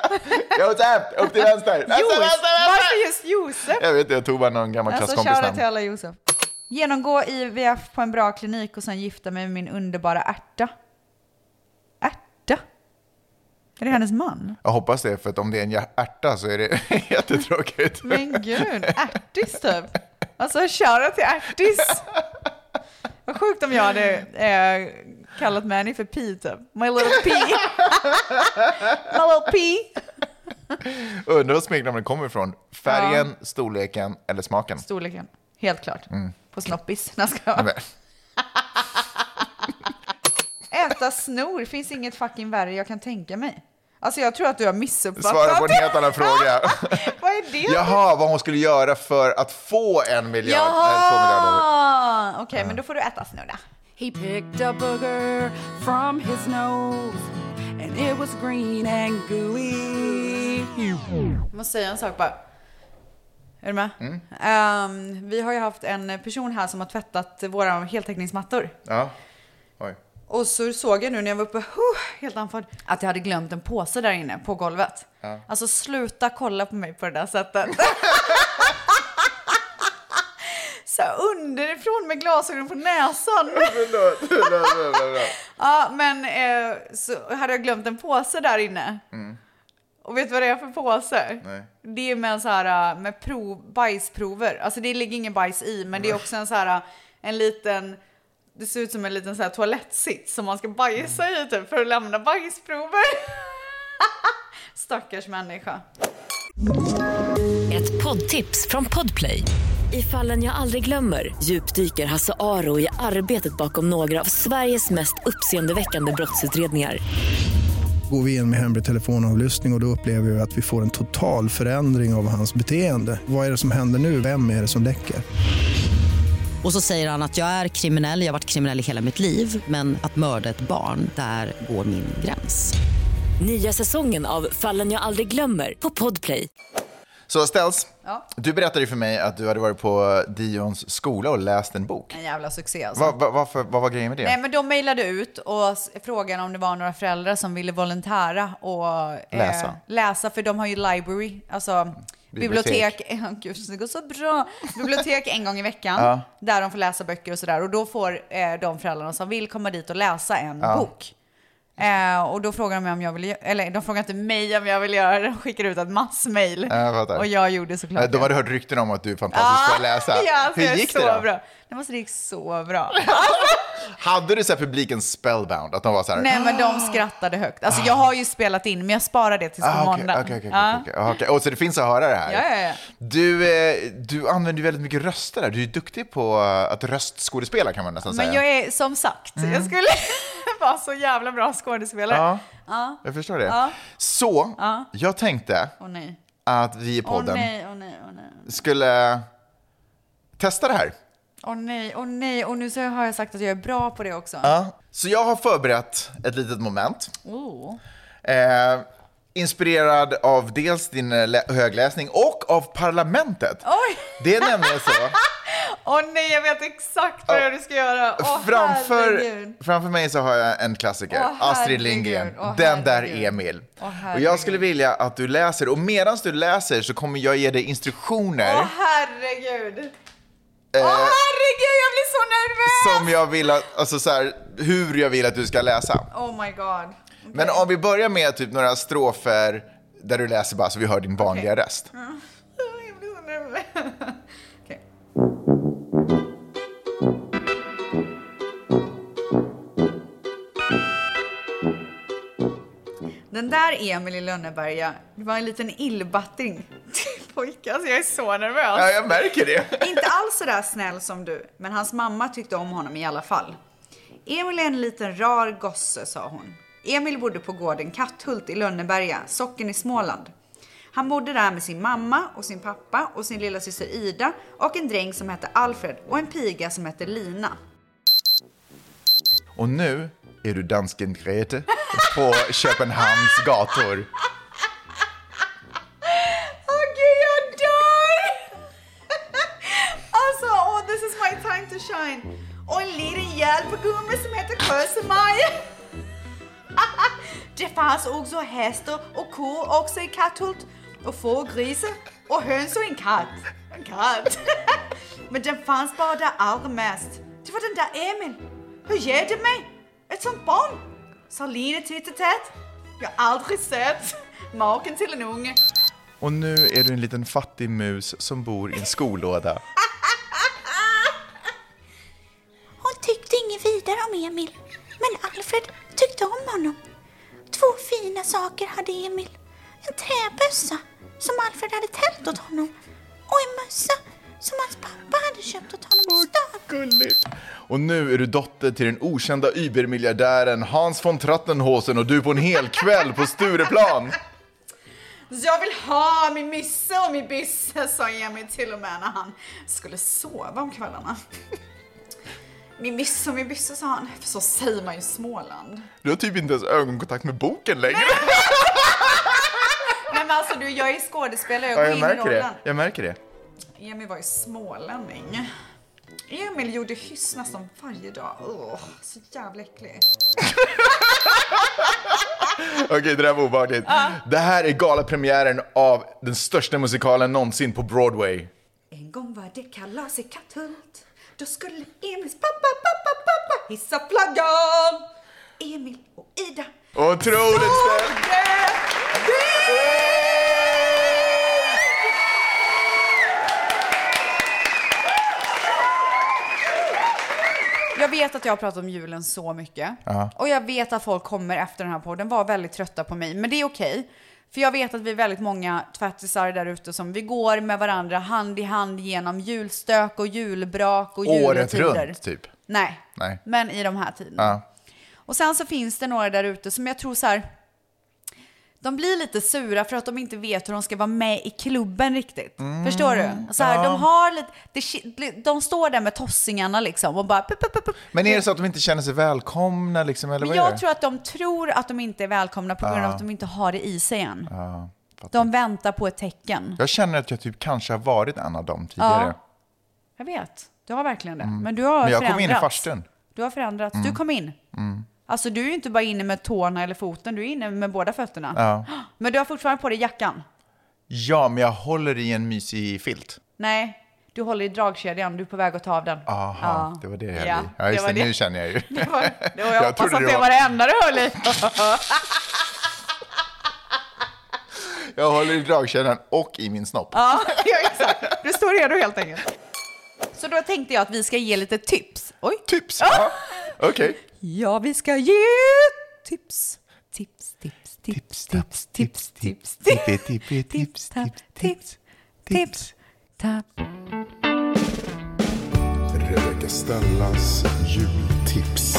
E: Josef, upp till vänster! Vänster,
D: Juice.
E: vänster!
D: Varför just Josef?
E: Jag vet inte, jag tog bara någon gammal
D: Alltså
E: klasskompis
D: shoutout till
E: namn.
D: alla Josef. Genomgå IVF på en bra klinik och sen gifta mig med min underbara ärta. Ärta? Är det hennes man?
E: Jag hoppas det, för att om det är en hjär- ärta så är det jättetråkigt.
D: Men gud, ärtis typ. Alltså shoutout till ärtis. Vad sjukt om jag hade eh, kallat Manny för P typ. My little P. My little P.
E: Undrar var smeknamnet kommer ifrån. Färgen, storleken eller smaken?
D: Storleken, helt klart.
E: Mm.
D: På snoppis. Nej, ska jag.
E: Men-
D: Äta snor finns inget fucking värre jag kan tänka mig. Alltså jag tror att du har missuppfattat.
E: Svara på en helt annan fråga.
D: Vad är det?
E: Jaha, vad hon skulle göra för att få en miljard. eller två miljarder.
D: Jaha! Okej, men då får du äta snor då.
Q: He picked a booger from his nose and it was green and gooey.
D: Jag måste säga en sak bara. Är du med?
E: Mm.
D: Ehm, vi har ju haft en person här som har tvättat våra heltäckningsmattor.
E: Ja. Oj.
D: Och så såg jag nu när jag var uppe, huh, helt andfådd, att jag hade glömt en påse där inne på golvet.
E: Ja.
D: Alltså sluta kolla på mig på det där sättet. så underifrån med glasögon på näsan.
E: Förlåt, förlåt, förlåt, förlåt.
D: Ja, men eh, så hade jag glömt en påse där inne.
E: Mm.
D: Och vet du vad det är för påse?
E: Nej.
D: Det är med en så här äh, med prov, bajsprover. Alltså det ligger ingen bajs i, men det är också en så här äh, en liten det ser ut som en liten så här toalettsits som man ska bajsa i typ för att lämna bajsprover. Stackars människa.
I: Ett poddtips från Podplay. I fallen jag aldrig glömmer djupdyker Hasse Aro i arbetet bakom några av Sveriges mest uppseendeväckande brottsutredningar.
J: Går vi in med hemlig telefonavlyssning och, och då upplever vi att vi får en total förändring av hans beteende. Vad är det som händer nu? Vem är det som läcker?
K: Och så säger han att jag är kriminell, jag har varit kriminell i hela mitt liv men att mörda ett barn, där går min gräns.
I: Nya säsongen av Fallen jag aldrig glömmer på Podplay.
E: Så Stels,
D: Ja.
E: du berättade ju för mig att du hade varit på Dions skola och läst en bok.
D: En jävla succé alltså.
E: Va, va, varför, vad var grejen med det?
D: Nej men de mejlade ut och s- frågade om det var några föräldrar som ville volontära och eh,
E: Läsa.
D: läsa för de har ju library, alltså bibliotek.
E: Bibliotek.
D: Ja, Gud, det går så bra. Bibliotek en gång i veckan
E: Ja.
D: där de får läsa böcker och sådär och då får eh, de föräldrarna som vill komma dit och läsa en
E: Ja.
D: bok. Eh, och då frågar de mig om jag vill gö- eller de frågar inte mig om jag vill göra det, de skickar ut ett massmejl.
E: Ja, jag fattar.
D: och jag gjorde såklart
E: Eh, De hade hört rykten om att du är fantastisk på att läsa.
D: Ja, alltså,
E: Hur
D: jag är
E: gick
D: så
E: det då?
D: Bra. Nej, alltså, det gick så bra.
E: Hade du så här publiken spellbound? Att de var så här...
D: Nej men de skrattade högt. Alltså jag har ju spelat in men jag sparar det tills på
E: Ah. Ah, okej,
D: måndag.
E: okej, okej,
D: Ja.
E: okej, Ah, okej, okej. Och så det finns att höra det här?
D: Ja, ja, ja.
E: Du, eh, du använder ju väldigt mycket röster där. Du är ju duktig på eh, att röstskådespela kan man nästan
D: Men
E: säga.
D: jag är som sagt, jag skulle vara så jävla bra skådespelare.
E: Mm. Ja.
D: Ja.
E: Jag förstår det.
D: Ja.
E: Så,
D: Ja.
E: jag tänkte
D: Åh nej.
E: att vi i
D: Åh
E: podden
D: nej, åh nej, åh nej.
E: skulle testa det här.
D: Åh nej, åh nej. Och nu så har jag sagt att jag är bra på det också.
E: Ja. Så jag har förberett ett litet moment.
D: Oh.
E: Eh, inspirerad av dels din eh, lä- högläsning och av Parlamentet.
D: Oj!
E: Det är nämligen så.
D: Åh nej, jag vet exakt vad du ska göra. Åh
E: framför,
D: herregud.
E: framför mig så har jag en klassiker,
D: Åh, herregud.
E: Astrid Lindgren.
D: Åh,
E: den där
D: herregud.
E: Emil.
D: Åh,
E: och jag skulle vilja att du läser, och medan du läser så kommer jag ge dig instruktioner
D: Åh herregud.
E: eh,
D: Åh herregud, jag blir så nervös!
E: som jag vill att, alltså så här, hur jag vill att du ska läsa.
D: Oh my god.
E: Men om vi börjar med typ några strofer där du läser bara så vi hör din vanliga röst.
D: Ja. Jag blir så nervös. Den där Emil i Lönneberga, det var en liten illbatting. Pojke, alltså jag är så nervös.
E: Ja, jag märker det.
D: Inte alls sådär snäll som du, men hans mamma tyckte om honom i alla fall. Emil är en liten rar gosse, sa hon. Emil bodde på gården Katthult i Lönneberga, socken i Småland. Han bodde där med sin mamma och sin pappa och sin lilla syster Ida och en dräng som hette Alfred och en piga som hette Lina.
E: Och nu är du dansken Grete på Köpenhamns gator.
D: Alltså, på gummi som heter Kösemaj. Det fanns också hästar och kor också i Katthult och får och grisar och höns och en katt. En katt. Men den fanns bara där allra mest. Det var den där Emil. Hur ger du mig ett sånt barn? Sa Line titt i tätt. Jag har aldrig sett maken till en unge.
E: Och nu är du en liten fattig mus som bor i en skolåda.
R: Hon tyckte inget vidare om Emil, men Alfred tyckte om honom. Två fina saker hade Emil. En träbössa som Alfred hade tält åt honom och en mössa som hans pappa hade köpt åt honom i stan.
E: Gulligt. Och nu är du dotter till den okända übermiljardären Hans von Trattenhausen och du på en hel kväll på Stureplan.
D: Så jag vill ha min misse och min bisse, sa Emil till och med när han skulle sova om kvällarna. Min misse och min bysse, sa han. För så säger man ju i Småland.
E: Du har typ inte ens ögonkontakt med boken längre.
D: Nej men alltså du, jag är skådespelare, jag
E: Ja,
D: går
E: jag
D: in i
E: märker
D: rollen.
E: det. Jag märker det.
D: Emil var ju smålänning. Emil gjorde hyss nästan varje dag. Åh, så jävla äcklig.
E: Okej, det där var obehagligt.
D: Ja.
E: Det här är galapremiären av den största musikalen någonsin på Broadway.
D: En gång var det kalas i Katthult. Då skulle Emils pappa, pappa, pappa hissa flaggan. Emil och Ida.
E: Otroligt
D: Såg
E: snällt!
D: det! Jag vet att jag har pratat om julen så mycket.
E: Ja.
D: Och jag vet att folk kommer efter den här podden vara väldigt trötta på mig. Men det är okej. För jag vet att vi är väldigt många tvättisar där ute som vi går med varandra hand i hand genom julstök och julbrak och
E: Året
D: juletider.
E: runt, typ.
D: Nej,
E: Nej.
D: men i de här tiderna.
E: Ja.
D: Och sen så finns det några där ute som jag tror så här. De blir lite sura för att de inte vet hur de ska vara med i klubben riktigt. Förstår du? Så här,
E: Mm. ja.
D: de, har lite, det, shit- de står där med tossingarna liksom och bara... Pup, pup, pup, pup.
E: Men är det så att de inte känner sig välkomna liksom, eller
D: Men
E: vad är
D: jag
E: det?
D: tror att de tror att de inte är välkomna på grund av
E: Ja.
D: att de inte har det i sig än.
E: Ja, fattar.
D: De väntar på ett tecken.
E: Jag känner att jag typ kanske har varit en av dem
D: Ja,
E: tidigare.
D: jag vet. Du har verkligen det. Men du har
E: Mm. Men jag kom
D: förändrats.
E: in i farstun.
D: Du har förändrats.
E: Mm.
D: Du kom in.
E: Mm.
D: Alltså du är ju inte bara inne med tårna eller foten, du är inne med båda fötterna.
E: Ja.
D: Men du har fortfarande på dig jackan.
E: ja, men jag håller i en mysig filt.
D: Nej, du håller i dragkedjan, du är på väg att ta av den.
E: Aha,
D: Ja.
E: det var det jag höll
D: Ja,
E: i. Ja, just
D: det
E: det,
D: var det.
E: nu känner jag ju.
D: Det var, det var, jag,
E: Jag
D: hoppas
E: trodde
D: att
E: det
D: det
E: var-
D: var det enda du höll i.
E: Jag håller i dragkedjan och i min snopp.
D: ja, ja, exakt. Du står redo helt enkelt. Så då tänkte jag att vi ska ge lite tips. Oj.
E: Tips?
D: Ja,
E: Okej.
D: ja vi ska ge tips. Tips, tips, tips, tips, tips, tips, tips,
E: tippi, tips,
D: tips, tips, tips, tapp.
P: Rebecca Stellas jultips.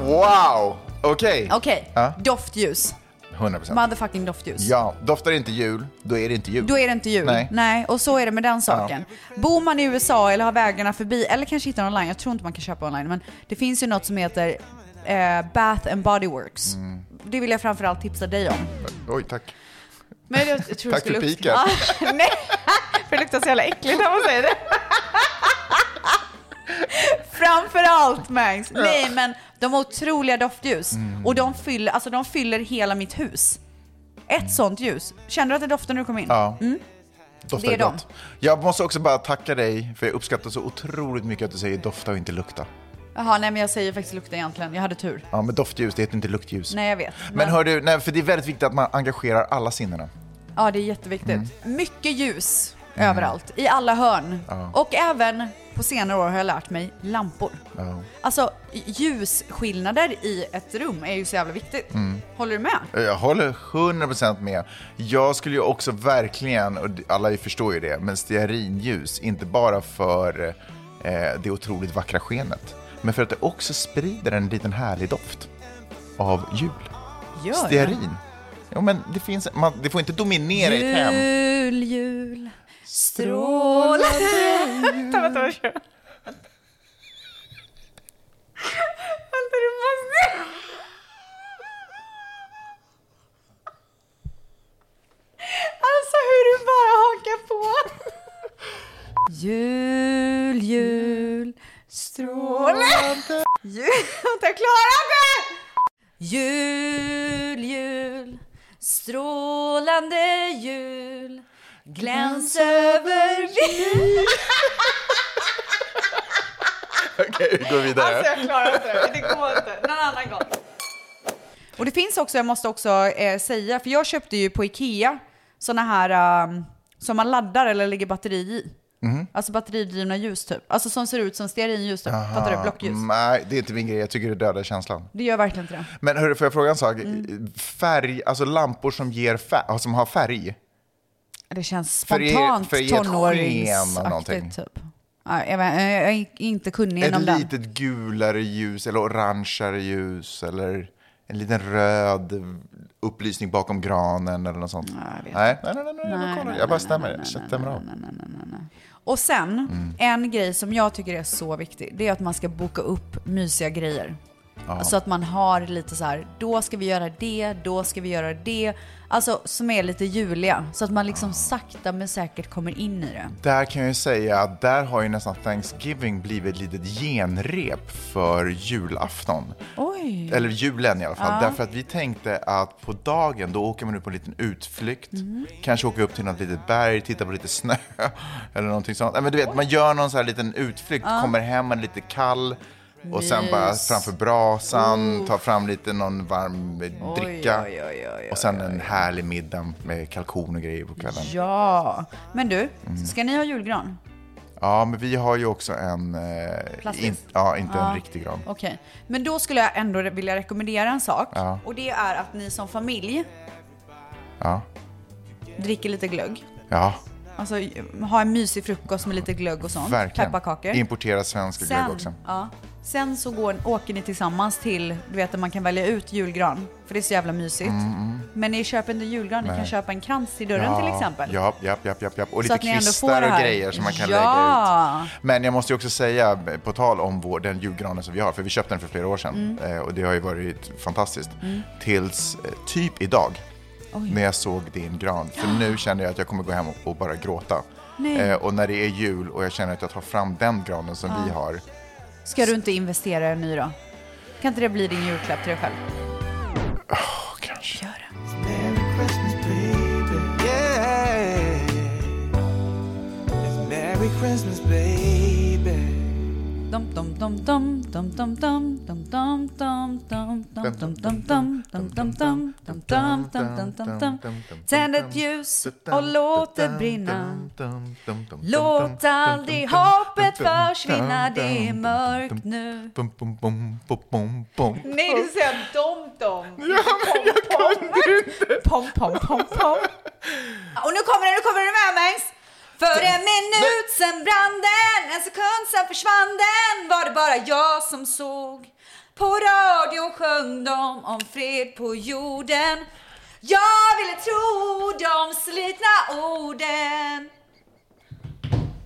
E: Wow! Okej.
D: Okej,
E: Ja.
D: doftljus.
E: 100 procent.
D: Motherfucking doftljus.
E: Ja, doftar inte jul, då är det inte jul.
D: Då är det inte jul.
E: Nej.
D: och så är det med den saken. Bor man i USA eller har vägarna förbi, eller kanske hittar online, jag tror inte man kan köpa online, men det finns ju något som heter eh, Bath and Body Works.
E: Mm.
D: Det vill jag framförallt tipsa dig om.
E: Oj, tack.
D: Men jag, jag tror
E: Tack
D: du skulle
E: för
D: upp-
E: piken.
D: Ja, nej, för det luktar så jävla äckligt när man säger det. Framförallt Mangs. Nej men de har otroliga doftljus.
E: Mm.
D: Och de fyller, alltså, de fyller hela mitt hus. Ett sånt ljus. Kände du att det doftade när du kom in?
E: Mm. Ja.
D: Mm.
E: Doftar
D: Det är dem.
E: gott. Jag måste också bara tacka dig, för jag uppskattar så otroligt mycket att du säger dofta och inte lukta.
D: Jaha, nej men jag säger faktiskt lukta egentligen. Jag hade tur.
E: Ja, men doftljus, det heter inte luktljus.
D: Nej jag vet.
E: Men hör du, nej, för det är väldigt viktigt att man engagerar alla sinnena.
D: Ja, det är jätteviktigt. Mycket ljus överallt, i alla hörn.
E: Mm. Ja.
D: Och även på senare år har jag lärt mig lampor.
E: Ja.
D: Alltså ljusskillnader i ett rum är ju så jävla viktigt.
E: Mm.
D: Håller du med?
E: Jag håller 100% med. Jag skulle ju också verkligen, och alla ju förstår ju det, men stearinljus, inte bara för eh, det otroligt vackra skenet, men för att det också sprider en liten härlig doft av jul.
D: Gör jag?
E: Stearin. Jo, men det, finns, man, det får inte dominera i ett hem.
D: Jul, jul, strålande Vänta, vänta, jag kör. Vänta, du måste... Alltså hur du bara har inte klarar det! Jul, jul, strålande jul, gläns över vi.
E: Okej, vi går vidare.
D: Alltså, jag klarar inte det. Det går inte. Någon annan gång. Och det finns också, jag måste också eh, säga, för jag köpte ju på Ikea såna här um, som man laddar eller lägger batteri i.
E: Mhm.
D: Alltså batteridrivna ljus typ. Alltså som ser ut som stearinljus typ.
E: Aha,
D: Fattar du? Blockljus.
E: Nej, det är inte min grej. Jag tycker det dödar känslan.
D: Det gör verkligen inte det.
E: Men hörru, får jag fråga en sak? Färg, alltså lampor som, ger fär- som har färg.
D: Det känns
E: För er-
D: spontant
E: för er sken av någonting.
D: tonåringsaktigt typ. Nej, Jag vet- jag är inte kunnig
E: Ett
D: inom den.
E: litet gulare ljus eller orangeare ljus eller en liten röd upplysning bakom granen eller något sånt. Nej, nej, nej, nej, nej, jag kollar. jag bara stämmer. Jag stämmer av.
D: Och sen,
E: Mm.
D: en grej som jag tycker är så viktig, det är att man ska boka upp mysiga grejer.
E: Ja.
D: Så att man har lite så här, då ska vi göra det, då ska vi göra det. Alltså som är lite juliga. Så att man liksom sakta men säkert kommer in i det.
E: Där kan jag ju säga att där har ju nästan Thanksgiving blivit ett litet genrep för julafton.
D: Oj!
E: Eller julen i alla fall.
D: Mm. Ja.
E: Därför att vi tänkte att på dagen då åker man ut på en liten utflykt.
D: Mm.
E: Kanske åker upp till något litet berg, tittar på lite snö eller någonting sånt. Nej, Men du vet, man gör någon så här liten utflykt,
D: Ja.
E: kommer hem, man är lite kall. Och sen bara
D: Mys.
E: framför brasan,
D: Oh.
E: tar fram lite någon varm eh,
D: Oj,
E: dricka.
D: oj, oj, oj,
E: och sen en härlig middag med kalkon och grejer på kvällen.
D: Ja! Men du,
E: Mm.
D: ska ni ha julgran?
E: Ja, men vi har ju också en... eh,
D: Plastisk?
E: in- ja, inte
D: Ja,
E: en riktig gran.
D: Okej, men då skulle jag ändå vilja rekommendera en sak.
E: Ja.
D: Och det är att ni som familj
E: Ja.
D: dricker lite glögg.
E: Ja,
D: Alltså ha en mysig frukost med lite glögg och sånt.
E: verkligen.
D: Pepparkakor.
E: Importera svensk glögg också.
D: Ja. Sen så går, åker ni tillsammans till, du vet där man kan välja ut julgran. För det är så jävla mysigt.
E: Mm, mm.
D: Men ni köper inte julgran, ni
E: Nej.
D: kan köpa en krans i dörren
E: ja,
D: till exempel.
E: Ja, ja, ja, ja, ja. och
D: Så
E: lite
D: att ni ändå får
E: kvistar
D: det
E: och
D: här.
E: grejer som man kan
D: Ja.
E: lägga ut. Men jag måste ju också säga, på tal om vår, den julgranen som vi har, för vi köpte den för flera år sedan eh, och det har ju varit fantastiskt.
D: Mm.
E: Tills eh, typ idag,
D: Oj.
E: när jag såg din gran. För nu känner jag att jag kommer gå hem och, och bara gråta.
D: Nej.
E: Eh, och när det är jul och jag känner att jag tar fram den granen som
D: Ja.
E: vi har.
D: Ska du inte investera i en ny då? Kan inte det bli din julklapp till dig själv?
E: kanske.
D: Gör det.
G: Yeah. It's Merry Christmas, baby.
D: Dum, dum, dum, dum, dum, dum, dum, dum, dum, dum, dum, dum, dum, dum, dum, dum, dum, dum, dum, dum, dum, dum, dum, dum. Tänd ett ljus och låt det brinna Låt aldrig hoppet försvinna, det är mörkt nu
E: Bum, bum, bum, bum, bum, bum.
D: Nej, du säger dom-dom. Ja, men jag kunde inte. Pom, pom, pom, pom. Och nu kommer den, nu kommer den med mig. För en minut sen brann den, en sekund sen försvann den. Var det bara jag som såg? På radion sjöng de om fred på jorden. Jag ville tro de slitna orden.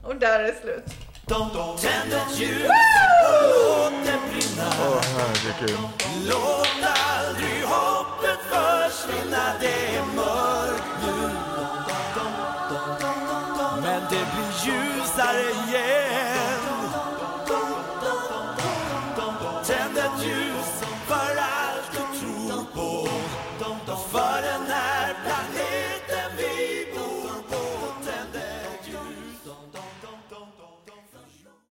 D: Och där är det slut.
G: Tänd ett ljus
D: Woo!
G: och låt det brinna.
E: Åh, herregud.
G: Låt aldrig hoppet försvinna, det är mörkt nu. Men det blir ljusare igen. Tänd ett ljus för allt du tror på. Och för den här planeten vi bor på. Tänd ett